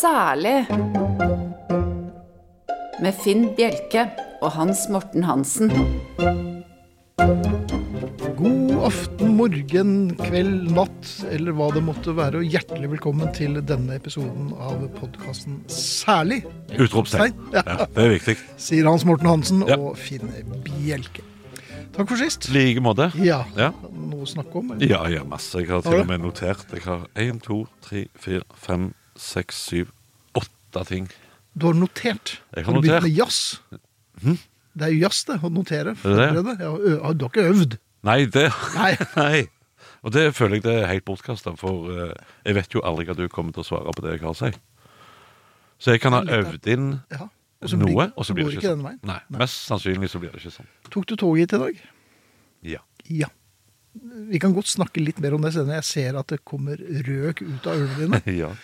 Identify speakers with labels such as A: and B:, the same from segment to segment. A: Særlig med Finn Bjelke og Hans Morten Hansen.
B: God aften, morgen, kveld, natt eller hva det måtte være. Og hjertelig velkommen til denne episoden av podkasten Særlig,
C: Utropstegn.
B: Ja.
C: Ja, det er viktig.
B: sier Hans Morten Hansen
C: Ja.
B: og Finn Bjelke. Takk for sist.
C: I like måte.
B: Ja,
C: Ja.
B: noe å snakke om? eller?
C: Ja, ja, masse. Jeg har
B: Har
C: til
B: du?
C: og med notert. Jeg har én, to, tre, fire, fem, seks, syv, åtte ting.
B: Du har notert.
C: Jeg har
B: du begynt
C: notert. Hm?
B: med jazz? Det er jo jazz, det. Å notere.
C: det?
B: Forberede. Ja, ø- ja, du har ikke øvd?
C: Nei, det
B: Nei.
C: Nei. Og det føler jeg det er helt bortkasta, for eh, jeg vet jo aldri hva du kommer til å svare på det jeg har å si. Så jeg kan ha
B: Det er litt,
C: øvd inn
B: Ja. Og så blir-
C: noe, og så blir
B: går
C: det
B: ikke
C: ikke sånn.
B: den veien.
C: Nei, Mest sannsynlig så blir det ikke sånn.
B: Tok du toget hit i dag?
C: Ja.
B: Ja. Vi kan godt snakke litt mer om det senere. Jeg ser at det kommer røk ut av ørene dine.
C: ja.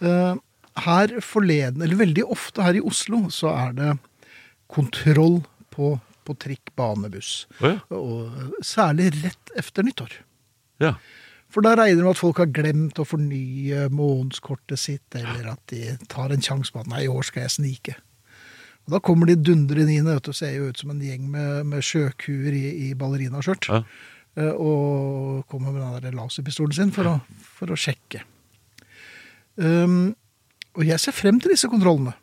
B: Eh, Her forleden, eller veldig ofte her i Oslo, så er det kontroll på, på trikk, bane, buss.
C: Å ja.
B: Og særlig rett efter nyttår.
C: ja.
B: For da regner du med at folk har glemt å fornye månedskortet sitt, eller at de tar en sjanse på at 'nei, i år skal jeg snike'. Og da kommer de dundrende inn, vet du, ser jo ut som en gjeng med, med sjøkuer i, i ballerinaskjørt.
C: Ja.
B: eh, Og kommer med den der laserpistolen sin for å, for å sjekke. Um, og jeg ser frem til disse kontrollene.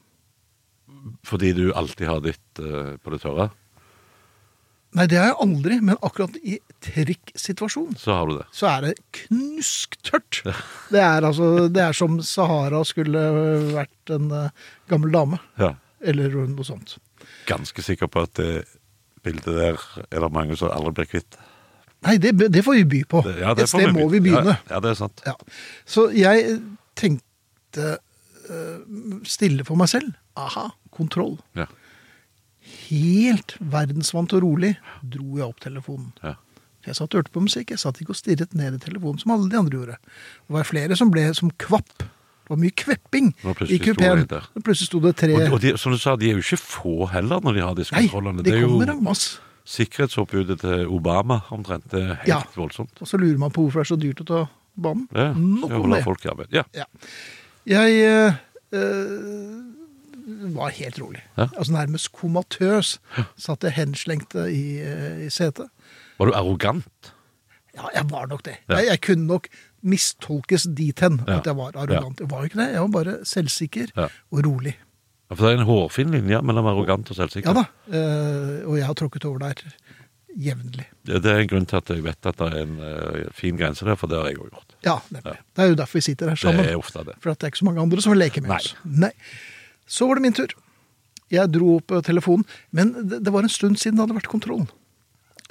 C: Fordi du alltid har ditt eh, på det tørre,
B: Nei, det har jeg aldri, men akkurat i trikksituasjon
C: så har du det.
B: så er det knusktørt. Det er, altså, det er som Sahara skulle vært en eh, gammel dame,
C: Ja.
B: eller noe sånt.
C: Ganske sikker på at det bildet der er det mange som aldri blir kvitt.
B: Nei, det, det får vi by på.
C: Det- ja, det
B: Et
C: får
B: sted må vi begynne.
C: Ja, ja, det er sant.
B: Ja. Så jeg tenkte eh, stille for meg selv. Aha, kontroll.
C: Ja,
B: Helt verdensvant og rolig dro jeg opp telefonen.
C: ja.
B: Jeg satt og hørte på musikk, jeg satt ikke og stirret ned i telefonen som alle de andre gjorde. Det var flere som ble som kvapp. Det var mye kvepping
C: Det var plutselig
B: i kupeen.
C: stor jente.
B: Plutselig sto det tre
C: Og, og de, som du sa, de er jo ikke få heller når de har disse
B: Nei,
C: kontrollene.
B: det
C: er jo
B: kommer en masse.
C: sikkerhetsoppbudet til Obama omtrent. Det er helt
B: Ja.
C: voldsomt.
B: Og så lurer man på hvorfor det er så dyrt å ta banen.
C: Det
B: Nok
C: skal
B: om
C: holde
B: det.
C: folk i arbeid. Ja.
B: Ja. Jeg eh, eh, var helt rolig.
C: Ja.
B: Altså nærmest komatøs. Satt jeg henslengt i, eh, i setet.
C: Var du arrogant?
B: Ja, jeg var nok det.
C: Ja.
B: Jeg, jeg kunne nok mistolkes dit hen
C: Ja.
B: at jeg var arrogant. Jeg var jo ikke det. Jeg var bare selvsikker
C: Ja.
B: og rolig.
C: Ja, For det er en hårfin linje mellom arrogant og selvsikker.
B: Ja da. eh, og jeg har tråkket over der jevnlig.
C: Det det er en grunn til at jeg vet at det er en eh, fin grense der, for det har jeg òg gjort.
B: Ja, nemlig. Det er jo derfor vi sitter her sammen.
C: Det er ofte det.
B: For at det er ikke så mange andre som vil leke med
C: Nei.
B: oss. Nei. Så var det min tur. Jeg dro opp eh, telefonen, men det, det var en stund siden det hadde vært kontroll.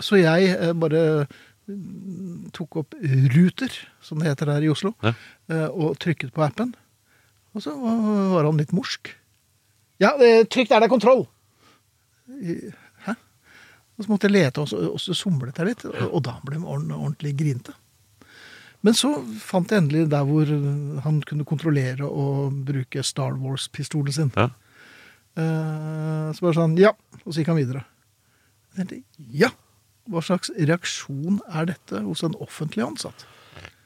B: Så jeg eh, bare mm, tok opp Ruter, som det heter her i Oslo,
C: Ja.
B: eh, og trykket på appen. Og så var var han litt morsk. Ja, eh, trykk der det er kontroll! I- Hæ? Og så måtte jeg lete, og så, og så somlet jeg litt, og, og da ble han ordn- ordentlig grinte. Men så fant jeg endelig der hvor han kunne kontrollere og bruke Star Wars-pistolen sin.
C: Ja.
B: Eh, Så bare sånn, ja, og så gikk han videre. Jeg tenkte, ja, hva slags reaksjon er dette hos en offentlig ansatt?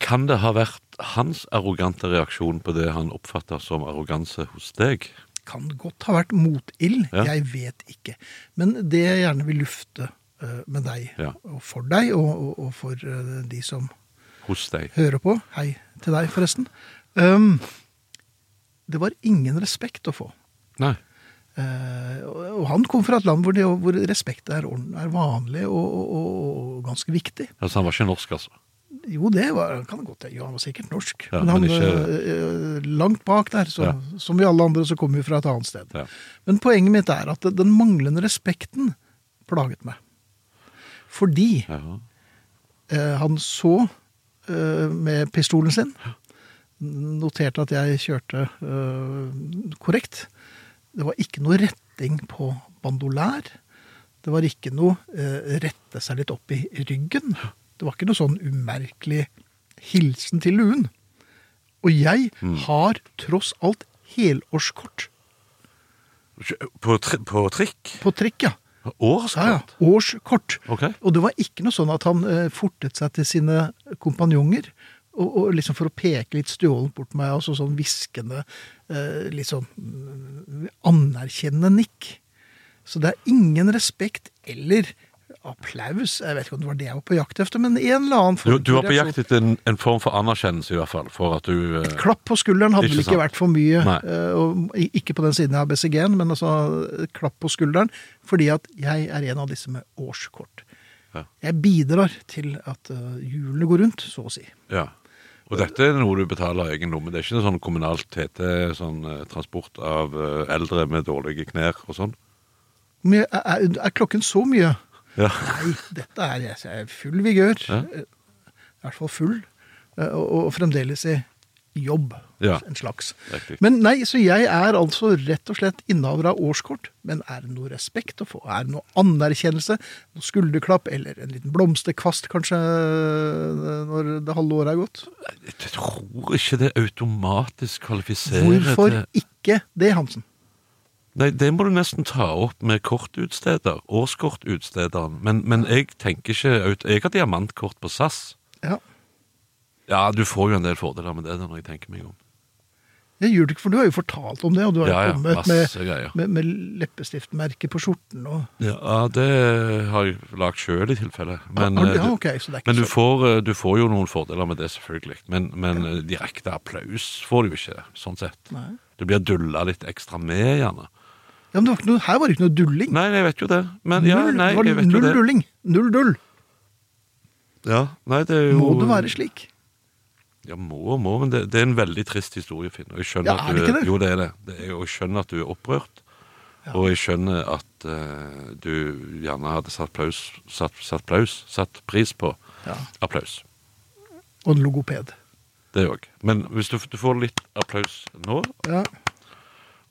C: Kan det ha vært hans arrogante reaksjon på det han oppfatter som arroganse hos deg?
B: Kan godt ha vært motild,
C: Ja.
B: jeg vet ikke. Men det jeg gjerne vil lufte eh, med deg,
C: Ja.
B: og for deg, og, og, og for eh, de som
C: Hos deg?
B: hører på, hei til deg forresten, Ehm, det var ingen respekt å få.
C: Nei.
B: Eh, og og han kom fra et land hvor, det, hvor respekt er, orden- er vanlig og, og, og, og ganske viktig.
C: Altså, han var ikke norsk, altså.
B: Jo, det var, kan det godt være. Jo, han var sikkert norsk.
C: Ja,
B: men han,
C: men ikke-
B: eh, eh, langt bak der, så,
C: Ja.
B: som vi alle andre, så kommer vi fra et annet sted.
C: Ja.
B: Men poenget mitt er at den manglende respekten plaget meg. Fordi
C: Ja.
B: eh, han så eh, med pistolen sin, noterte at jeg kjørte eh, korrekt. Det var ikke noe retting på bandolær. Det var ikke noe eh, rette seg litt opp i ryggen. Det var ikke noe sånn umerkelig hilsen til luen. Og jeg har tross alt helårskort
C: På, tri på trikk?
B: på trikk, ja. Ja, ja.
C: Årskort?
B: Årskort.
C: Ok.
B: Og det var ikke noe sånn at han eh, fortet seg til sine kompanjonger Og, og liksom for å peke litt stjålent bort meg, altså sånn hviskende, eh, litt sånn mm, anerkjennende nikk. Så det er ingen respekt eller applaus. Jeg vet ikke om det var det jeg var på jakt etter, men en eller annen
C: Du,
B: form
C: du var
B: for
C: på
B: reaksjon.
C: jakt etter en, en form for anerkjennelse, i hvert fall. For at du eh,
B: Klapp på skulderen hadde
C: Ikke
B: vel ikke
C: sant.
B: vært for mye.
C: Nei.
B: eh, Og i- ikke på den siden jeg har BCG-en, men altså eh, klapp på skulderen. Fordi at jeg er en av disse med årskort.
C: Ja.
B: Jeg bidrar til at eh, hjulene går rundt, så å si.
C: Ja. Og dette er noe du betaler av egen lomme. Det er ikke noe sånn kommunalt TT, sånn eh, transport av eh, eldre med dårlige knær og sånn?
B: Men jeg- er, er- er klokken så mye?
C: Ja.
B: Nei, dette er jeg jeg er full vigør.
C: Ja.
B: Eh, I hvert fall full. eh, Og, og fremdeles i jobb.
C: Ja.
B: En slags.
C: Riktig.
B: Men nei, så jeg er altså rett og slett innehaver av årskort. Men er det noe respekt å få? Er det noe anerkjennelse? Noe skulderklapp? Eller en liten blomsterkvast, kanskje, eh, når det halve året er gått?
C: Jeg tror ikke det automatisk kvalifiserer
B: Hvorfor
C: til
B: ikke det, Hansen?
C: Nei, det må du nesten ta opp med kortutsteder. Årskortutstederen. Men, men jeg tenker ikke aut- Jeg har diamantkort på SAS.
B: Ja,
C: Ja, du får jo en del fordeler med det da, når jeg tenker meg om.
B: det gjør du ikke, for du har jo fortalt om det, og du har jo
C: Ja, ja,
B: kommet
C: masse
B: med,
C: greier.
B: med, med leppestiftmerke på skjorten og
C: Ja, det har jeg lagd sjøl i tilfelle. Men,
B: Har du-
C: eh,
B: ja,
C: du-
B: ok, så det er ikke
C: Men du
B: så-
C: får, eh, du får jo noen fordeler med det, selvfølgelig. Men, men eh, direkte applaus får du jo ikke, sånn sett.
B: Nei.
C: Du blir dulla litt ekstra med, gjerne.
B: Ja, men det var ikke noe, her var det ikke noe dulling.
C: Nei, jeg vet jo det. Men ja,
B: null,
C: nei,
B: det var
C: jeg vet jo
B: null
C: det.
B: dulling. Null dull.
C: Ja, nei, det er jo
B: Må det være slik?
C: Ja, må og må, men det, det er en veldig trist historie, Finn. Og jeg skjønner
B: Ja,
C: at
B: er
C: du,
B: det ikke det?
C: Jo, det er det. det er, og jeg skjønner at du er opprørt. Og jeg skjønner at eh, du gjerne hadde satt, plaus, satt, satt, plaus, satt pris på
B: Ja.
C: applaus.
B: Og en logoped.
C: Det òg. Men hvis du, du får litt applaus nå,
B: Ja.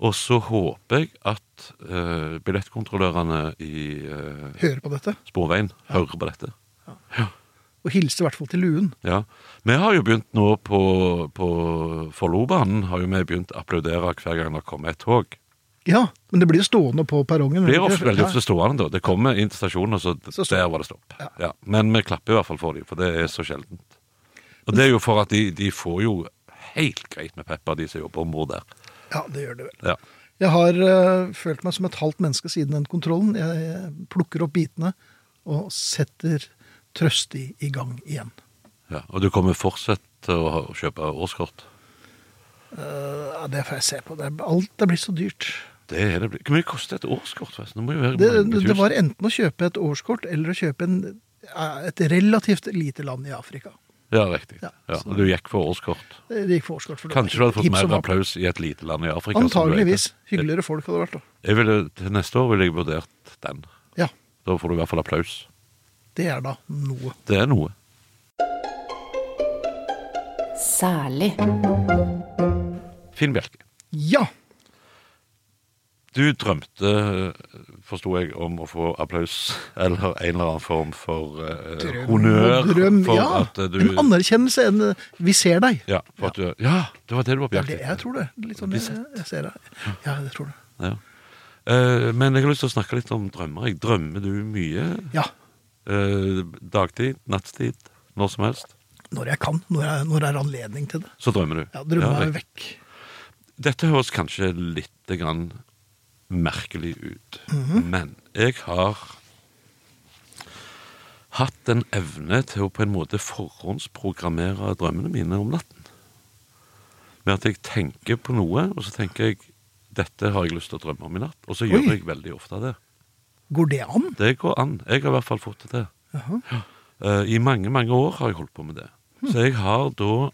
C: og så håper jeg at eh, billettkontrollørene i eh,
B: Hører på dette.
C: Sporveien hører på dette.
B: Og hilser i hvert fall til luen.
C: Ja. Vi har jo begynt nå på, på Follobanen har jo vi begynt å applaudere hver gang det kommer et tog.
B: Ja, men det blir jo stående på perrongen.
C: Det blir
B: ikke?
C: ofte, veldig
B: Ja.
C: ofte stående, da. Det kommer inn til stasjonen, og så,
B: Så stopp.
C: der var det stopp.
B: Ja.
C: Ja. Men vi klapper i hvert fall for dem, for det er så sjeldent. Og det er jo for at de, de får jo helt greit med pepper, de som jobber om bord der.
B: Ja, det gjør det vel.
C: Ja.
B: Jeg har eh, følt meg som et halvt menneske siden den kontrollen. Jeg, jeg plukker opp bitene og setter Trøsti i gang igjen.
C: Ja. Og du kommer fortsatt til å ha- kjøpe årskort?
B: Eh, Ja, det får jeg se på. Det er, alt det blir så dyrt.
C: Det er det. bli- Hvor mye koster et årskort, forresten? Det må jo være
B: Det,
C: mange
B: det
C: tusen.
B: var enten å kjøpe et årskort eller å kjøpe en, eh, et relativt lite land i Afrika.
C: Ja, riktig.
B: Ja,
C: Ja,
B: så-
C: og Du gikk for årskort.
B: Det gikk for årskort. For det var
C: Kanskje du hadde fått
B: hipp som
C: mer
B: happ.
C: applaus i et lite land i Afrika? som du er i.
B: Antageligvis. Hyggeligere folk hadde det vært, da.
C: Jeg ville, til neste år ville jeg vurdert den.
B: Ja,
C: Da får du i hvert fall applaus.
B: det er da noe.
C: Det er noe.
A: Særlig.
C: Finn Bjelke.
B: Ja!
C: Du drømte, eh, forsto jeg, om å få applaus eller en eller annen form for eh,
B: Drøm
C: honnør.
B: og drøm.
C: for
B: ja.
C: at eh, du,
B: En anerkjennelse enn eh, 'vi ser deg'.
C: Ja, for at du, ja, det var det du var på
B: Det er
C: jakt
B: det, jeg
C: etter.
B: tror det. Litt sånn,
C: Bli
B: jeg,
C: sett.
B: jeg ser deg. Ja, jeg tror det.
C: Ja. Eh, men jeg har lyst til å snakke litt om drømmer. Jeg drømmer du mye?
B: Ja.
C: Eh, dagtid, nattstid, når som helst?
B: Når jeg kan. Når, jeg, når det er anledning til det.
C: Så drømmer du.
B: Ja, Drømmene er
C: riktig.
B: vekk.
C: Dette høres kanskje litt grann merkelig ut, men jeg har hatt en evne til å på en måte forhåndsprogrammere drømmene mine om natten. Med at jeg tenker på noe, og så tenker jeg dette har jeg lyst til å drømme om i natt. Og så gjør
B: Oi.
C: jeg veldig ofte det.
B: Går det an?
C: Det går an. Jeg har i hvert fall fått det til.
B: Jaha.
C: Eh, I mange, mange år har jeg holdt på med det.
B: Hmm.
C: Så jeg har da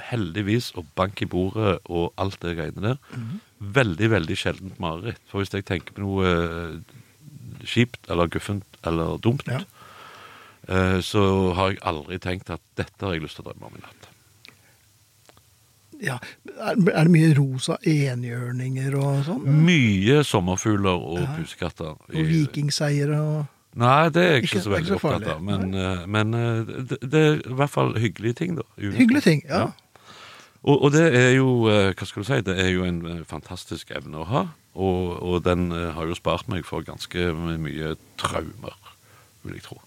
C: heldigvis og bank i bordet og alt det greiene der.
B: Hmm.
C: Veldig, veldig sjeldent mareritt. For hvis jeg tenker på noe eh, kjipt eller guffent eller dumt,
B: Ja.
C: eh, så har jeg aldri tenkt at dette har jeg lyst til å drømme om i natt.
B: Ja. Er, er det mye rosa enhjørninger og
C: Mm.
B: sånn?
C: Mye sommerfugler og pusekatter. i-
B: Og vikingseiere og
C: Nei, det er jeg ikke,
B: Ikke-
C: så
B: det er
C: veldig
B: ikke så
C: opptatt av. Men, eh, men eh, det, det er i hvert fall hyggelige ting, da. i utgangspunktet.
B: Hyggelige ting. Ja.
C: Og, og det er jo, eh, hva skal du si, det er jo en eh, fantastisk evne å ha. Og, og den eh, har jo spart meg for ganske mye traumer, vil jeg tro.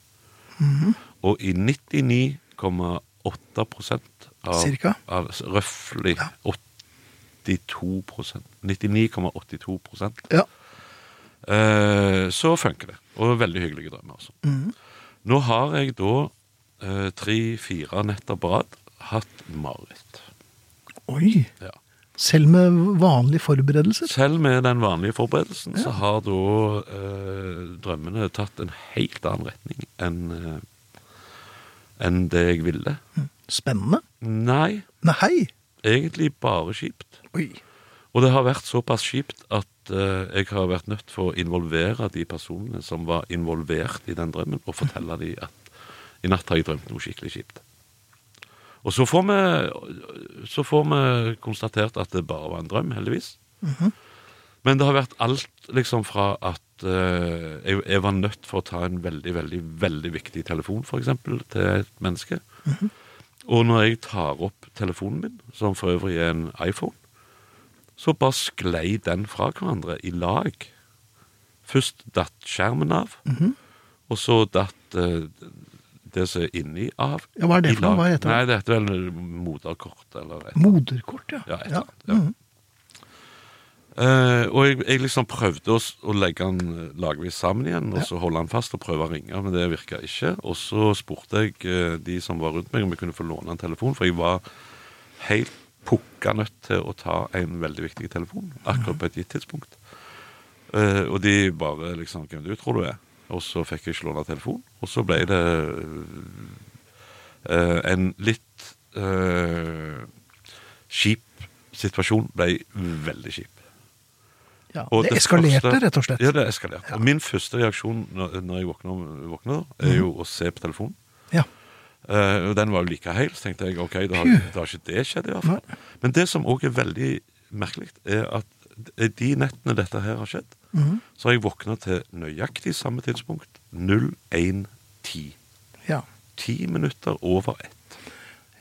C: Og i 8 av,
B: Cirka?
C: av Røftlig 82 99,82
B: Ja.
C: eh, Så funker det. Og veldig hyggelige drømmer. Altså. Nå har jeg da eh, tre-fire netter på rad hatt mareritt.
B: Oi.
C: Ja.
B: Selv med vanlige forberedelser?
C: Selv med den vanlige forberedelsen så har da eh, drømmene tatt en helt annen retning enn eh, enn det jeg ville.
B: Hm. Spennende.
C: Nei,
B: Nei, hei!
C: egentlig bare kjipt.
B: Oi.
C: Og det har vært såpass kjipt at eh, jeg har vært nødt for å involvere de personene som var involvert i den drømmen, og fortelle dem at i natt har jeg drømt noe skikkelig kjipt. Og så får vi, så får vi konstatert at det bare var en drøm, heldigvis.
B: Mhm.
C: Men det har vært alt liksom fra at eh, jeg, jeg var nødt for å ta en veldig, veldig, veldig viktig telefon, for eksempel, til et menneske.
B: Mhm.
C: Og når jeg tar opp telefonen min, som for øvrig er en iPhone, så bare sklei den fra hverandre i lag. Først datt skjermen av,
B: Mhm.
C: og så datt eh, det som er inni av.
B: Ja, hva er det
C: i
B: for noe?
C: lag.
B: Hva heter det?
C: Nei, det heter vel moderkort eller et
B: Moderkort, ja. Mm.
C: ja, et eller annet. Ja. Eh, og jeg, jeg liksom prøvde å, s- å legge den lagvis sammen igjen, og så holde den fast og prøve å ringe, men det virka ikke. Og så spurte jeg eh, de som var rundt meg, om jeg kunne få låne en telefon, for jeg var helt pukka nødt til å ta en veldig viktig telefon akkurat på et gitt tidspunkt. Eh, og de bare liksom 'Hvem du tror du er?' Og så fikk jeg ikke låne telefon, og så ble det eh, en litt eh, kjip situasjon ble veldig kjip.
B: Ja,
C: Og
B: det eskalerte,
C: første-
B: rett og slett.
C: Ja, det eskalerte. Og min første reaksjon når, når jeg våkner, våkner er
B: Mhm.
C: jo å se på telefonen.
B: Ja.
C: Eh, og den var jo like heil, så tenkte jeg ok, da har, da har ikke det skjedd i hvert fall. Men det som òg er veldig merkelig, er at de nettene dette her har skjedd,
B: Mhm.
C: så har jeg våkna til nøyaktig samme tidspunkt. 01.10.
B: ja.
C: Ti minutter over ett.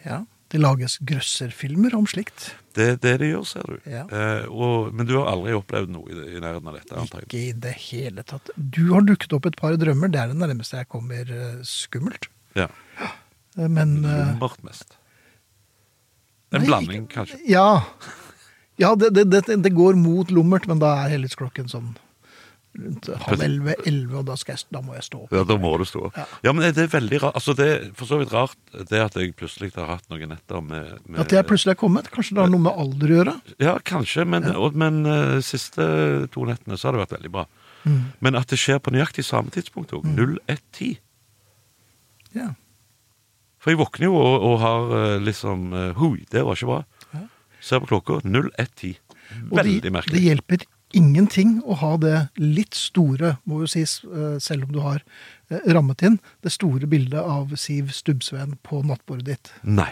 B: ja. Det lages grøsserfilmer om slikt.
C: Det er det de gjør, ser du.
B: Ja.
C: Eh, og, men du har aldri opplevd noe i, det- i nærheten av dette? antagelig.
B: Ikke i det hele tatt. Du har dukket opp et par drømmer. Det er det nærmeste jeg kommer eh, skummelt.
C: Ja.
B: Eh, Men
C: Mm.
B: eh,
C: Lummert mest. En
B: Nei,
C: blanding, kanskje.
B: Ja. Ja, det, det, det, det går mot lummert, men da er helhetsklokken sånn rundt halv elleve, elleve, og da, skal jeg, da må jeg stå opp.
C: Ja, Da må du stå opp. Ja. men det er veldig rart. Altså, det er for så vidt rart det at jeg plutselig har hatt noen netter med, med
B: At jeg plutselig er kommet. Kanskje det har noe med alder å gjøre?
C: Ja, kanskje, men, og, men eh, siste to nettene så har det vært veldig bra.
B: Mm.
C: Men at det skjer på nøyaktig samme tidspunkt òg. 01.10.
B: Ja.
C: For jeg våkner jo og, og har eh, liksom eh, Hui, det var ikke bra.
B: Ja.
C: Ser på klokka. 01.10.
B: Og det-
C: Veldig merkelig.
B: Det hjelper ingenting å ha det litt store, må jo sies, eh, selv om du har eh, rammet inn, det store bildet av Siv Stubbsveen på nattbordet ditt.
C: Nei.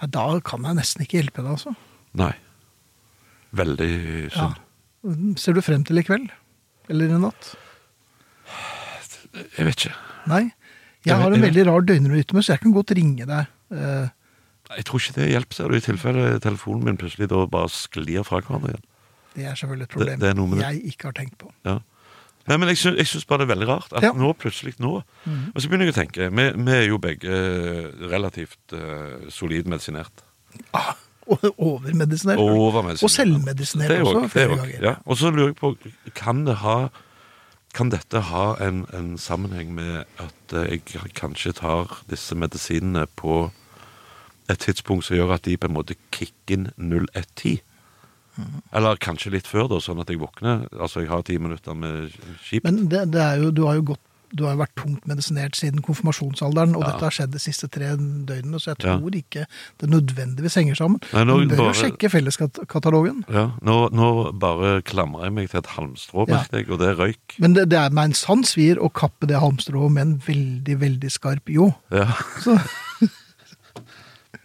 B: Nei, Da kan jeg nesten ikke hjelpe deg, altså.
C: Nei. Veldig synd.
B: Mm, Ser du frem til i kveld? Eller i natt?
C: Jeg vet ikke.
B: Nei. Jeg
C: Jeg vet-
B: har en
C: jeg
B: veldig rar døgnrytme, så jeg kan godt ringe deg. eh,
C: Jeg tror ikke det hjelper, ser du, i tilfelle telefonen min plutselig da bare sklir fra hverandre igjen.
B: Det er selvfølgelig et problem
C: det er noe med det.
B: jeg ikke har tenkt på.
C: Ja. Nei, men jeg syns, jeg syns bare det er veldig rart at
B: Ja.
C: nå, plutselig nå Og så begynner jeg å tenke. Vi, vi er jo begge eh, relativt uh, solid medisinert.
B: Ah, og overmedisinert.
C: Overmedisinert.
B: Og selvmedisinert
C: Det er
B: også,
C: det er
B: flere
C: også,
B: ganger.
C: Ja. Og så lurer jeg på Kan det ha kan dette ha en, en sammenheng med at eh, jeg kanskje tar disse medisinene på et tidspunkt som gjør at de på en måte kicker inn 0110?
B: Mm.
C: Eller kanskje litt før, da, sånn at jeg våkner. Altså, jeg har ti minutter med skip.
B: Men det, det er jo, du har jo gått du har jo vært tungt medisinert siden konfirmasjonsalderen, og
C: Ja.
B: dette har skjedd de siste tre døgnene, så jeg
C: Ja.
B: tror ikke det nødvendigvis henger sammen.
C: Nei, nå
B: du bør
C: bare-
B: jo sjekke felleskatalogen.
C: Ja, nå, nå bare klamrer jeg meg til et halmstrå,
B: Ja.
C: merket jeg, og det er røyk.
B: Men det, det er med en sann svir å kappe det halmstrået med en veldig, veldig skarp ljå.
C: Ja.
B: Så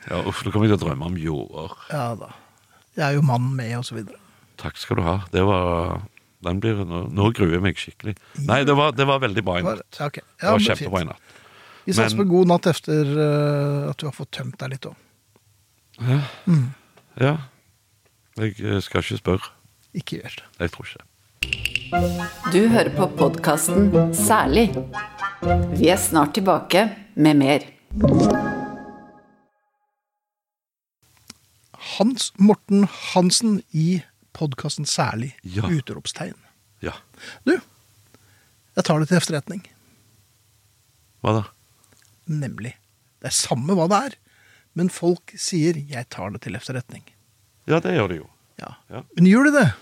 C: ja, uff, nå kommer jeg til å drømme om ljåer.
B: ja da. Jeg er jo mannen med, og så videre.
C: Takk skal du ha. Det var den blir, nå, nå gruer jeg meg skikkelig. Nei, det var, det var veldig bra i
B: Var-
C: natt.
B: ok.
C: det
B: Ja,
C: var
B: men
C: kjempebra i
B: fint.
C: natt.
B: Vi satser
C: Men-
B: på god natt etter eh, at du har fått tømt deg litt òg.
C: Ja. Jeg eh, skal ikke spørre.
B: Ikke gjør det.
C: Jeg tror ikke det.
A: Du hører på podkasten Særlig. Vi er snart tilbake med mer.
B: Hans Morten Hansen i podkasten Særlig.
C: Ja.
B: Utropstegn.
C: Ja.
B: Du, jeg tar det til efterretning.
C: Hva da?
B: Nemlig. Det er samme hva det er, men folk sier 'jeg tar det til efterretning'.
C: Ja, det gjør det jo.
B: Ja.
C: Ja.
B: Men gjør de det?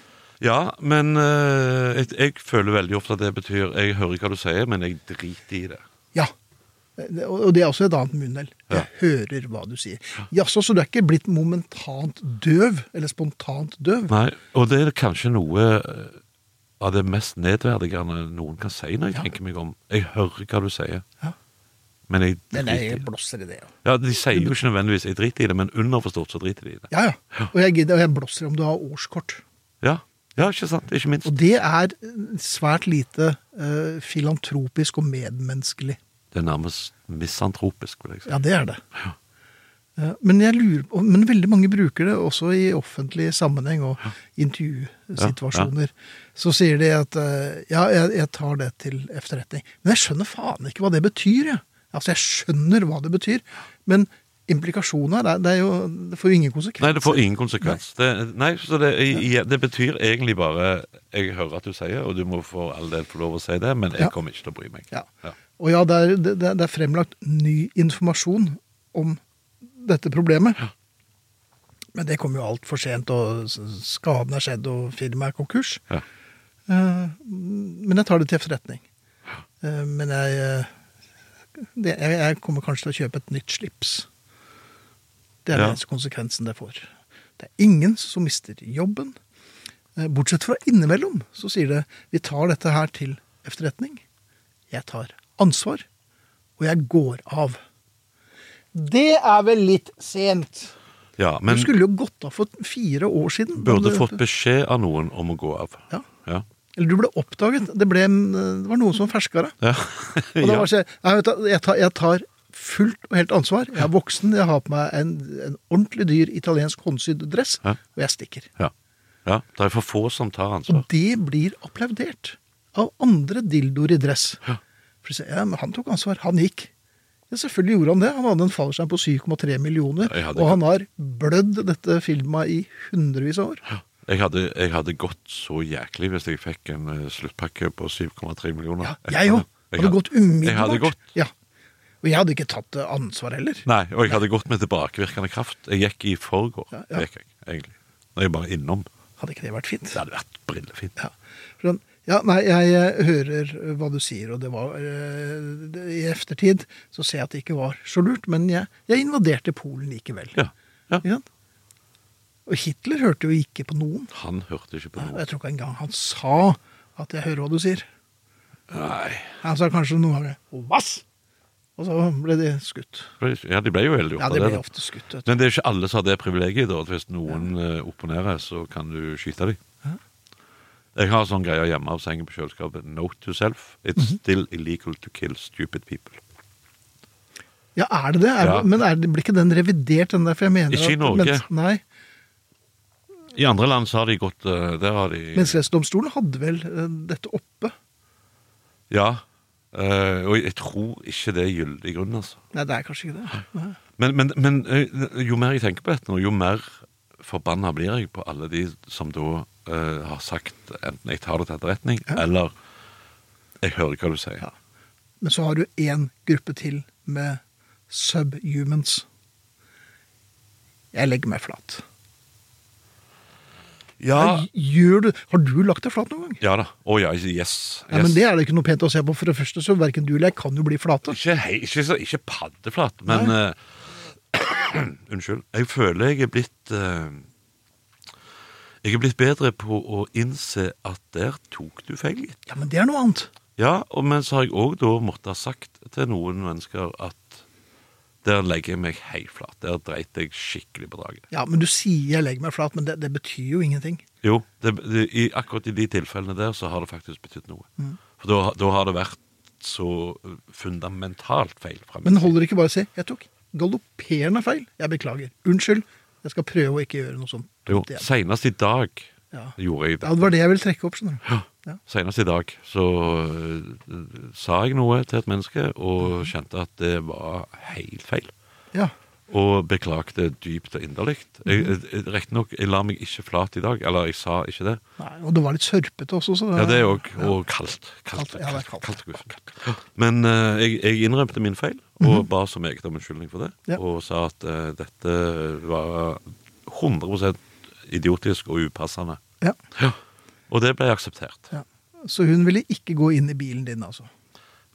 C: Ja, men eh, jeg, jeg føler veldig ofte at det betyr Jeg hører hva du sier, men jeg driter i det.
B: Ja. Det- Og det er også et annet munnhell. Jeg
C: Ja.
B: hører hva du sier. Jaså, så du er ikke blitt momentant døv? Eller spontant døv?
C: Nei, og det er kanskje noe eh, av det mest nedverdigende noen kan si når jeg
B: Ja.
C: tenker meg om. Jeg hører hva du sier,
B: Ja.
C: men jeg
B: Men
C: driter i
B: jeg
C: det.
B: blåser i det. ja.
C: Ja, De sier jo ikke nødvendigvis 'jeg driter i det', men underforstått så driter de i det.
B: Ja, ja. Og jeg, gidder, og jeg blåser om du har årskort.
C: Ja, ja ikke sant? Ikke minst.
B: Og det er eh, svært lite eh, filantropisk og medmenneskelig.
C: Det er nærmest misantropisk, vil jeg si.
B: Ja, det er det. Eh, Men, jeg lurer, på- men veldig mange bruker det også i offentlig sammenheng og intervjusituasjoner. Så sier de at eh, ja, jeg, jeg tar det til efterretning. Men jeg skjønner faen ikke hva det betyr. Jeg. Altså, jeg skjønner hva det betyr, men implikasjonen her, det, er- det, er jo, det får jo ingen konsekvenser.
C: Nei, det får ingen konsekvens. Nei, det, nei så det, i- i- det betyr egentlig bare 'jeg hører at du sier', og du må for all del få lov å si det, men jeg
B: Ja.
C: kommer ikke til å bry meg.
B: Ja.
C: Ja.
B: Og ja, det er, det, det er fremlagt ny informasjon om dette problemet. Men det kom jo altfor sent, og s- skaden er skjedd, og firmaet er konkurs.
C: Ja.
B: Eh, Men jeg tar det til efterretning. Eh, Men jeg, eh, det, jeg, jeg kommer kanskje til å kjøpe et nytt slips. Det er
C: Ja.
B: den eneste konsekvensen det får. Det er ingen som mister jobben. Eh, Bortsett fra innimellom så sier det vi tar dette her til efterretning. Jeg tar ansvar, og jeg går av. Det er vel litt sent.
C: Ja, men
B: du skulle jo gått av for fire år siden. da
C: burde
B: du-
C: fått beskjed av noen om å gå av.
B: Ja.
C: Ja.
B: Eller du ble oppdaget. Det, ble, eh, det var noen som ferska deg.
C: Ja.
B: Og da
C: Ja.
B: var det sånn, «Nei, vet du, jeg, tar, jeg tar fullt og helt ansvar. Jeg er voksen, jeg har på meg en, en ordentlig dyr italiensk håndsydd dress,
C: Ja.
B: og jeg stikker.
C: Ja. ja. Det er for få som tar
B: Og
C: ansvar.
B: det blir applaudert av andre dildoer i dress. For de sier, ja, men han tok ansvar, han gikk. Ja, selvfølgelig gjorde han det. Han hadde en fallskjerm på 7,3 millioner,
C: Jeg hadde
B: og
C: ikke-
B: han har blødd dette filmet i hundrevis av år.
C: Jeg hadde, jeg hadde gått så jæklig hvis jeg fikk en eh, sluttpakke på 7,3 millioner.
B: Ja, jeg òg. Hadde gått umiddelbart.
C: Jeg hadde gått.
B: Ja. Og jeg hadde ikke tatt eh, ansvar heller.
C: Nei, og jeg hadde gått med tilbakevirkende kraft. Jeg gikk i forgår,
B: Ja, ja.
C: gikk jeg, egentlig. Når jeg bare innom.
B: Hadde ikke det vært fint?
C: Det hadde vært brillefint.
B: Ja. Sånn, ja, nei, jeg eh, hører eh, hva du sier, og det var eh, det- I eftertid så ser jeg at det ikke var så lurt, men jeg, jeg invaderte Polen likevel.
C: Ja. ja.
B: Ikke sant? Og Hitler hørte jo ikke på noen.
C: Han hørte ikke på
B: Og
C: noe.
B: jeg tror ikke engang han sa at 'jeg hører hva du sier'.
C: Nei.
B: Han sa kanskje noen ganger 'hvass', og så ble de skutt.
C: Ja, de ble jo veldig
B: Ja,
C: opptatt
B: de
C: av
B: ble
C: det.
B: ofte skutt. vet du.
C: Men det er ikke alle som har det privilegiet, da. At hvis noen eh, opponerer, så kan du skyte dem. Jeg har sånn greier hjemme av sengen på kjøleskapet. Note to self. It's still illegal to kill stupid people.
B: Ja, er det det? Er,
C: Ja.
B: Men er det, blir ikke den revidert, den der? For jeg mener
C: Ikke i
B: at
C: Norge.
B: mens- nei.
C: I andre land så har de gått eh, Der har de
B: Menneskerettsdomstolen hadde vel eh, dette oppe.
C: Ja. eh, og jeg tror ikke det er gyldig grunn, altså.
B: Nei, det er kanskje ikke det. Nei.
C: Men, men, men eh, jo mer jeg tenker på dette nå, jo mer forbanna blir jeg på alle de som da eh, har sagt enten 'jeg tar det til etterretning',
B: Ja.
C: eller 'jeg hører hva du sier'.
B: Ja. Men så har du én gruppe til med subhumans. Jeg legger meg flat.
C: Ja,
B: Nei, Gjør du, har du lagt deg flat noen gang?
C: ja da. Å ja, yes.
B: Nei,
C: yes.
B: men Det er det ikke noe pent å se på. For det første, så Verken du eller jeg kan jo bli flate.
C: ikke, hei, ikke, så- ikke paddeflat, men eh, Unnskyld. Jeg føler jeg er blitt eh, Jeg er blitt bedre på å innse at der tok du feil, gitt.
B: Ja, Men det er noe annet.
C: Ja, og men så har jeg òg da måttet ha sagt til noen mennesker at der legger jeg meg helt flat. Der dreit jeg skikkelig på draget.
B: Ja, men Du sier 'jeg legger meg flat', men det, det betyr jo ingenting.
C: Jo, det, det, i, akkurat i de tilfellene der så har det faktisk betydd noe.
B: Mm.
C: For da, da har det vært så eh, fundamentalt feil fra min
B: Men holder det ikke bare å si 'jeg tok galopperende feil'? Jeg beklager. Unnskyld. Jeg skal prøve å ikke gjøre noe sånt.
C: side. Jo,
B: igjen.
C: senest i dag
B: Ja.
C: gjorde jeg det.
B: Ja, det var det jeg ville trekke opp. skjønner du. Ja.
C: Senest i dag så eh,
B: Mhm.
C: øh, sa jeg noe til et menneske og kjente at det var helt feil.
B: Ja.
C: Og beklagte dypt og inderlig.
B: Mhm.
C: eh, Riktignok, jeg la meg ikke flat i dag. Eller, jeg sa ikke det.
B: Nei, og det var litt sørpete også. Så
C: Ja, det òg. Og kaldt. Kaldt,
B: Kaldt, ja, det er
C: kaldt,
B: kaldt.
C: kaldt, kaldt, kaldt. Men eh, jeg, jeg innrømte min feil, og ba som eget om unnskyldning for det.
B: Mhm. Ja.
C: Og sa at eh, dette var 100 idiotisk og upassende.
B: Ja,
C: Ja. Og det ble akseptert.
B: ja. Så hun ville ikke gå inn i bilen din, altså?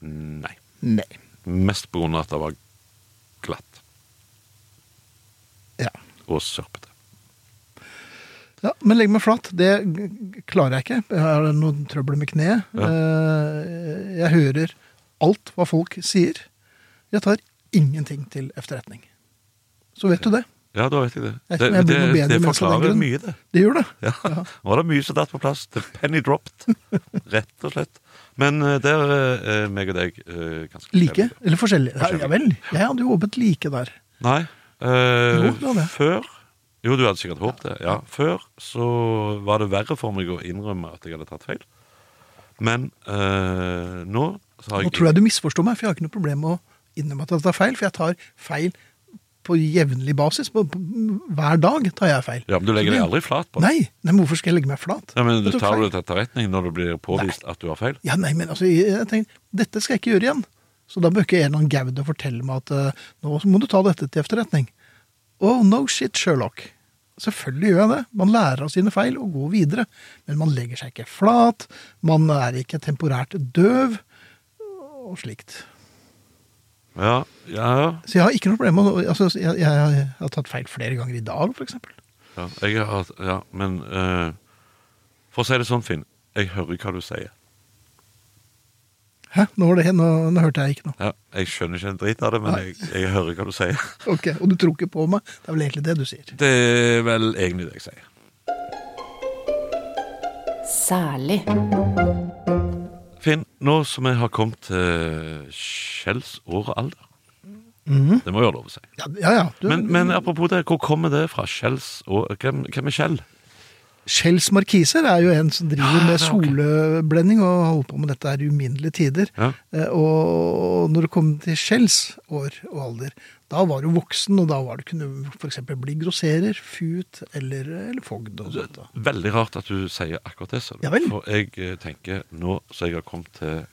C: Nei.
B: Nei.
C: Mest på grunn av at det var glatt
B: Ja.
C: og sørpete.
B: Ja, men legge meg flat, det g- g- klarer jeg ikke. Jeg har noen trøbbel med kneet.
C: Ja.
B: Eh, Jeg hører alt hva folk sier. Jeg tar ingenting til efterretning. Så vet du det.
C: Ja, da vet jeg det.
B: Jeg
C: Det,
B: tror jeg blir
C: det,
B: noe bedre menneske
C: det
B: av den
C: forklarer
B: sånn grunn.
C: mye, det.
B: Det gjør det.
C: Ja. Nå var det mye som datt på plass. The penny dropped, rett og slett. Men eh, der er eh, meg og deg eh, ganske
B: Like,
C: forskjellige.
B: eller forskjellig. Ja,
C: Forskjellig.
B: ja vel. Jeg hadde jo håpet like der.
C: Nei. eh,
B: Jo, det var det.
C: før Jo, du hadde sikkert håpet det. Ja. Før så var det verre for meg å innrømme at jeg hadde tatt feil. Men eh, nå så har
B: Nå
C: jeg
B: tror jeg du misforstår meg, for jeg har ikke noe problem med å innrømme at jeg tar feil, for jeg tar feil på jevnlig basis. På, på, hver dag tar jeg feil.
C: Ja, men Du legger deg
B: Så det-
C: aldri flat på det.
B: Nei, nei, men hvorfor skal jeg legge meg flat?
C: Ja, men du
B: Jeg tok
C: Tar
B: feil.
C: du det til etterretning når det blir påvist at du har feil?
B: Ja, nei, men altså, jeg jeg tenker, dette skal jeg ikke gjøre igjen. Så da bør ikke en eller annen gaude fortelle meg at eh, nå må du ta dette til efterretning. Oh, no shit, Sherlock. Selvfølgelig gjør jeg det. Man lærer av sine feil og går videre. Men man legger seg ikke flat, man er ikke temporært døv, og slikt.
C: Ja, ja, ja.
B: Så jeg har ikke noe problem med å altså, jeg, jeg har tatt feil flere ganger i dag, for eksempel.
C: Ja, jeg har, ja men eh, For å si det sånn, Finn. Jeg hører hva du sier.
B: Hæ? Nå, var det, nå, nå hørte jeg ikke noe.
C: Ja, jeg skjønner ikke en drit av det, men jeg, jeg hører hva du sier.
B: Ok, Og du tror ikke på meg? Det er vel egentlig det du sier.
C: Det er vel egentlig det jeg sier.
A: Særlig.
C: Finn, nå som vi har kommet til skjellsåralder
B: Mhm.
C: Det må jo være lov å si.
B: Ja, ja. ja du,
C: Men, men apropos det, hvor kommer det fra? Skjells og Hvem, hvem er Skjell?
B: Shells Markiser er jo en som driver med
C: det er Ah, ok.
B: soleblending og har holdt på med dette her i uminnelige tider.
C: Ja.
B: Eh, Og når det kom til Shells år og alder, da var du voksen, og da var du kunne f.eks. bli grosserer, fut eller, eller fogd. og sånt. da.
C: Veldig rart at du sier akkurat det. sa du.
B: Ja vel.
C: For jeg eh, tenker, nå som jeg har kommet til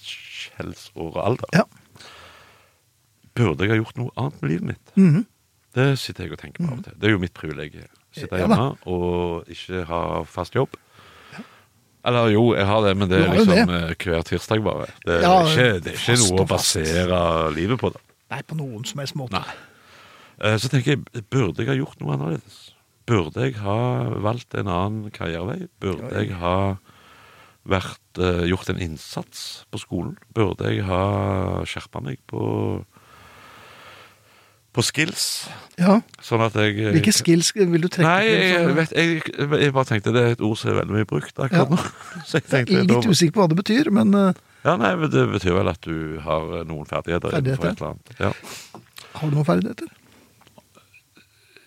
C: skjellsåralder,
B: Ja.
C: burde jeg ha gjort noe annet med livet mitt?
B: Mhm.
C: Det sitter jeg og tenker på av og til. Det er jo mitt privilegium. Sitte
B: Ja da.
C: hjemme og ikke ha fast jobb. Eller jo, jeg har det, men det
B: Du
C: er
B: har jo
C: liksom eh, hver tirsdag bare. Det er
B: Ja,
C: ikke, det er ikke
B: fast
C: noe å
B: og fast.
C: basere livet på, da.
B: Nei, på noen som helst måte.
C: Nei. Eh, Så tenker jeg, burde jeg ha gjort noe annerledes? Burde jeg ha valgt en annen karrierevei? Burde
B: Oi.
C: jeg ha vært, eh, gjort en innsats på skolen? Burde jeg ha skjerpa meg på, på skills?
B: Ja,
C: Sånn at jeg eh,
B: Hvilke skills vil du trekke
C: Nei, jeg,
B: til?
C: vet, jeg, jeg bare tenkte det er et ord som er veldig mye brukt
B: Ja.
C: akkurat nå. Så jeg
B: Jeg
C: tenkte,
B: er
C: da-
B: litt usikker på hva det betyr, men eh,
C: ja, nei, men Det betyr vel at du har eh, noen ferdigheter.
B: Ferdigheter?
C: innenfor Et eller annet. Ja.
B: har du noen ferdigheter?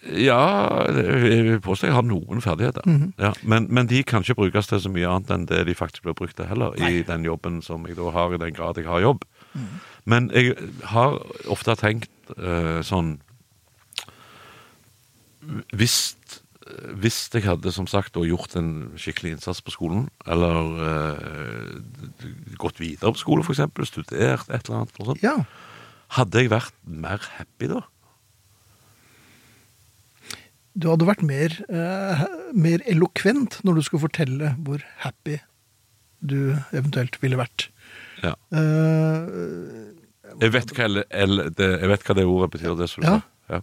C: Ja, jeg vil påstå jeg har noen ferdigheter.
B: Mhm.
C: ja, men, men de kan ikke brukes til så mye annet enn det de faktisk blir brukt til heller, i den jobben som jeg da har, i den grad jeg har jobb.
B: Mhm.
C: Men jeg har ofte tenkt eh, sånn Hvis hvis jeg hadde som sagt da gjort en skikkelig innsats på skolen, eller eh, gått videre på skole f.eks., studert et eller annet, og sånt,
B: Ja.
C: hadde jeg vært mer happy da?
B: Du hadde vært mer, eh, mer elokvent når du skulle fortelle hvor happy du eventuelt ville vært.
C: Ja.
B: Eh,
C: Jeg vet hva, el, el, det, jeg vet hva det ordet betyr, det som du
B: Ja.
C: sa. Ja.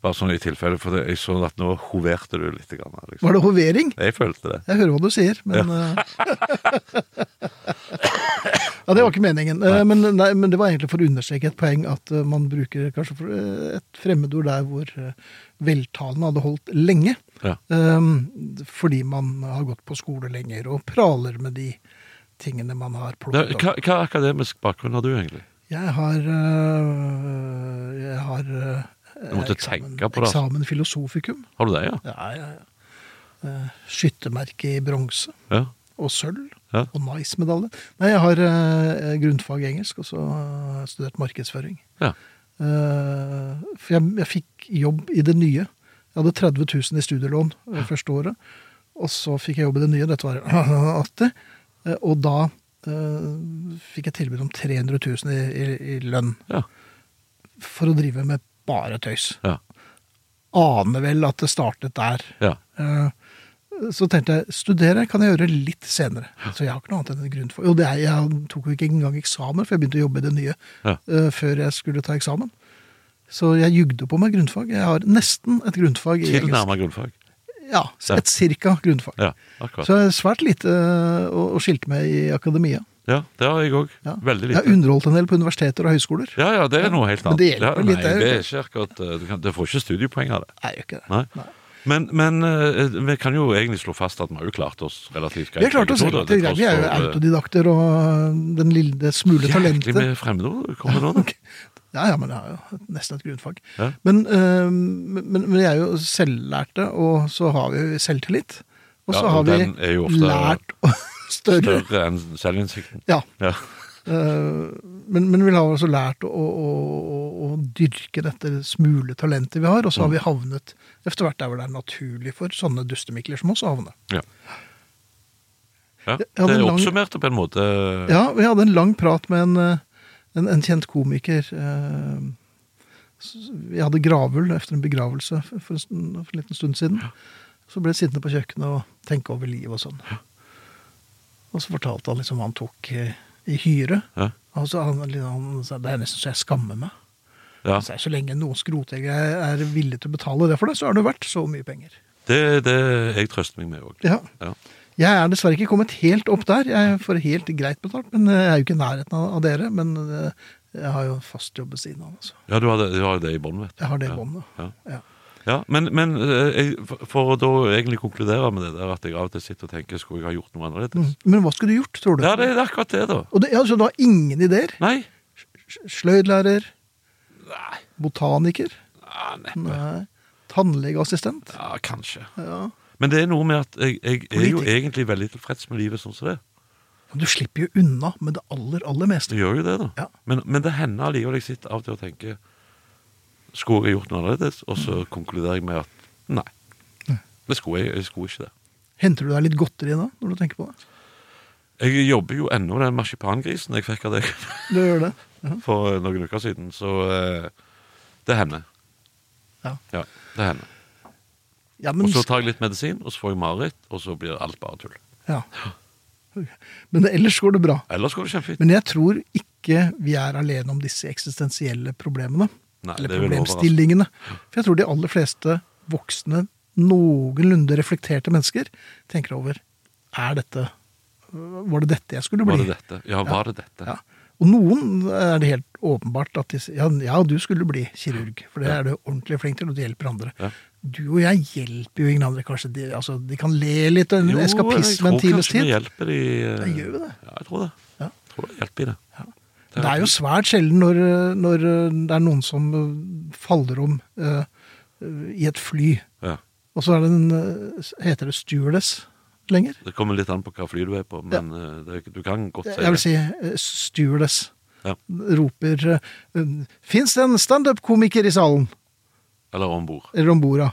C: Bare sånn i tilfelle, for det, jeg så at nå hoverte du litt. Grann, her, liksom.
B: var det hovering?
C: Jeg følte det.
B: Jeg hører hva du sier, men eh, Ja, det var ikke meningen. Eh, men, nei, men det var egentlig for å understreke et poeng at eh, man bruker kanskje for- eh, et fremmedord der hvor eh, veltalende hadde holdt lenge.
C: Ja.
B: eh, fordi man har gått på skole lenger og praler med de tingene man har
C: Ja,
B: plukket opp.
C: hva, hva akademisk bakgrunn har du egentlig?
B: Jeg har øh, Jeg har øh,
C: Du måtte
B: eksamen,
C: tenke på det, altså.
B: eksamen filosofikum.
C: Har du det, ja?
B: Ja, ja, ja. Eh, Skyttermerke i bronse
C: Ja,
B: og sølv.
C: ja.
B: Og eh, nice-medalje. Nei, jeg har øh, grunnfag i engelsk, og så har jeg studert markedsføring.
C: ja.
B: Eh, For jeg, jeg fikk jobb i det nye. Jeg hadde 30 000 i studielån eh, første året. Og så fikk jeg jobb i det nye, dette var i 80. eh, Og da eh, fikk jeg tilbud om 300 000 i, i, i lønn
C: Ja.
B: for å drive med bare tøys.
C: ja,
B: Aner vel at det startet der.
C: ja.
B: Eh, Så tenkte jeg studere kan jeg gjøre litt senere. Så jeg har ikke noe annet enn en grunn for Jo, det er, jeg tok jo ikke engang eksamen, for jeg begynte å jobbe i det nye
C: Ja.
B: eh, før jeg skulle ta eksamen. Så jeg jugde på meg grunnfag. Jeg har nesten et grunnfag i engelsk.
C: Tilnærma grunnfag.
B: Ja, et cirka grunnfag.
C: Ja, akkurat.
B: Så jeg er svært lite eh, å, å skilte med i akademia.
C: Ja, det har jeg òg.
B: Ja.
C: Veldig
B: Jeg har
C: lite.
B: underholdt en del på universiteter og høyskoler.
C: Ja, ja, det er noe helt
B: Men
C: annet.
B: det hjelper
C: ja,
B: litt,
C: nei,
B: det er jo
C: det er ikke akkurat eh, du kan, Det får ikke studiepoeng av det.
B: Nei, jeg gjør ikke det.
C: Nei.
B: Nei.
C: Men, men eh, vi kan jo egentlig slå fast at vi har jo klart oss relativt greit.
B: Vi har klart oss
C: begge to, da,
B: relativt
C: til
B: greit.
C: tross
B: Vi er jo
C: for, eh,
B: autodidakter og eh, den lille smule
C: Jæklig
B: talentet.
C: med fremmedord kommer nå. da.
B: Ok. Ja, ja, men det er jo nesten et grunnfag.
C: Ja.
B: Men, eh, men, men vi er jo selvlærte, og så har vi jo selvtillit. Og så
C: Ja, og
B: har vi
C: den er jo ofte
B: lært å- større.
C: Større enn selvinnsikten.
B: Ja,
C: Ja.
B: eh, men, men vi har også lært å, å, å, å dyrke dette smule talentet vi har, og så
C: Mm.
B: har vi havnet etter hvert der hvor det er naturlig for sånne dustemikler som oss å havne.
C: ja. ja.
B: Jeg hadde
C: Det
B: en
C: er
B: lang-
C: oppsummerte på en måte.
B: Ja, vi hadde en lang prat med en, eh, en, en kjent komiker. eh, s- Vi hadde gravøl efter en begravelse for for en, stund, for en liten stund siden. Så ble jeg sittende på kjøkkenet og tenke over livet og sånn. Og så fortalte han liksom hva han tok eh, i hyre.
C: Ja.
B: Og så han, liksom, han sa det er nesten så jeg skammer meg.
C: Ja.
B: Så, jeg, så lenge noen skrotjegere er er villige til å betale det for det, så er det verdt så mye penger.
C: Det er det jeg trøster meg med òg.
B: Ja.
C: Ja.
B: Jeg er dessverre ikke kommet helt opp der. Jeg får helt greit betalt, men eh, jeg er jo ikke i nærheten av av dere. Men eh, jeg har jo en fast jobb ved siden av. Altså.
C: ja, du har det, du har det i bånn, vet du.
B: Jeg har det
C: Ja.
B: båndet.
C: Ja.
B: Ja.
C: Ja, men, men eh, jeg, for- for å da egentlig konkludere med det der at jeg av og til sitter og tenker skulle jeg ha gjort noe annerledes?
B: Men hva skulle du gjort, tror du?
C: Ja, det er akkurat det, da.
B: Og det, ja, så du har ingen ideer?
C: Nei.
B: S- Sløydlærer?
C: Nei.
B: Botaniker?
C: Ah, neppe.
B: Nei. Tannlegeassistent?
C: Ja, kanskje.
B: Ja.
C: Men det er noe med at jeg, jeg er jo
B: Politiker.
C: egentlig veldig tilfreds med livet sånn som det er.
B: Du slipper jo unna med det aller, aller meste.
C: Det gjør jo det, da.
B: Ja.
C: Men, men det hender allikevel jeg sitter av og til og tenker Skulle jeg gjort noe annerledes? Og så
B: Mm.
C: konkluderer jeg med at nei. Det skulle jeg, jeg skulle ikke det.
B: Henter du deg litt godteri da, når du tenker på det?
C: Jeg jobber jo ennå med den marsipangrisen jeg fikk av deg
B: Du gjør det? Ja.
C: for noen uker siden, så eh, det hender.
B: Ja.
C: Ja, det hender.
B: Ja, men,
C: Og så tar jeg litt medisin, og så får jeg mareritt, og så blir alt bare tull.
B: ja. men ellers går det bra.
C: Ellers går det kjempefint.
B: Men jeg tror ikke vi er alene om disse eksistensielle problemene.
C: Nei,
B: eller
C: det vil altså. overraske.
B: problemstillingene. For jeg tror de aller fleste voksne, noenlunde reflekterte mennesker tenker over er dette, Var det dette jeg skulle bli?
C: Var det dette? Ja, var det dette?
B: Ja. Og noen er det helt åpenbart at de sier ja, ja, du skulle bli kirurg, for det er du ordentlig flink til, og du hjelper andre.
C: Ja.
B: Du og jeg hjelper jo ingen andre, kanskje. De, altså, de kan le litt og en
C: Jo,
B: eskapisme en times
C: Jeg tror kanskje
B: tid.
C: det hjelper i eh,
B: Det gjør jo det.
C: Ja, jeg tror det.
B: Ja.
C: Jeg tror det hjelper i det.
B: Det er jo svært sjelden når, når eh, det er noen som faller om eh, i et fly.
C: Ja.
B: Og så er det en, eh, heter det stewardess lenger.
C: Det kommer litt an på hva fly du er på, men eh, det, du kan godt si
B: Jeg vil
C: det.
B: si eh, stewardess
C: Ja.
B: roper Fins det en standup-komiker i salen?
C: Eller om bord.
B: Eller om borda?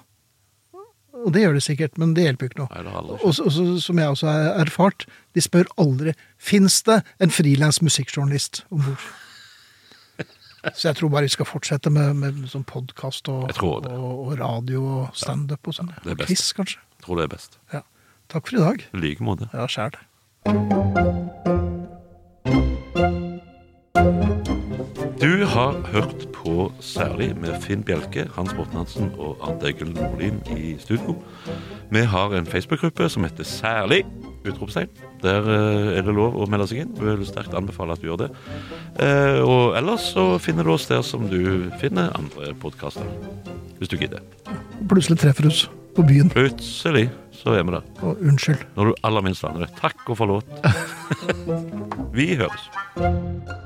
B: Og det gjør det sikkert, men det hjelper jo ikke noe.
C: Nei, det har aldri
B: Og
C: skjedd.
B: så- og så- som jeg også har erfart, de spør aldri Fins det en frilans musikkjournalist om bord. Så jeg tror bare vi skal fortsette med, med sånn podkast og,
C: Jeg tror det.
B: og, og radio og standup og sånn.
C: det er
B: Og
C: best.
B: Quiz, kanskje.
C: Jeg tror det er best.
B: Ja. Takk for i dag.
C: I like måte.
B: Ja, skjær det.
C: Du har hørt på Særlig med Finn Bjelke, Hans Morten Hansen og Arnt Egil Nordlien i studio. Vi har en Facebook-gruppe som heter Særlig! Utropstegn. Der eh, er det lov å melde seg inn. Vi vil sterkt anbefale at du gjør det. Eh, Og ellers så finner du oss der som du finner andre podkaster. Hvis du gidder.
B: Plutselig treffer oss på byen.
C: Plutselig så er vi der.
B: Og unnskyld.
C: Når du aller minst aner det. Takk og forlåt. Vi høres.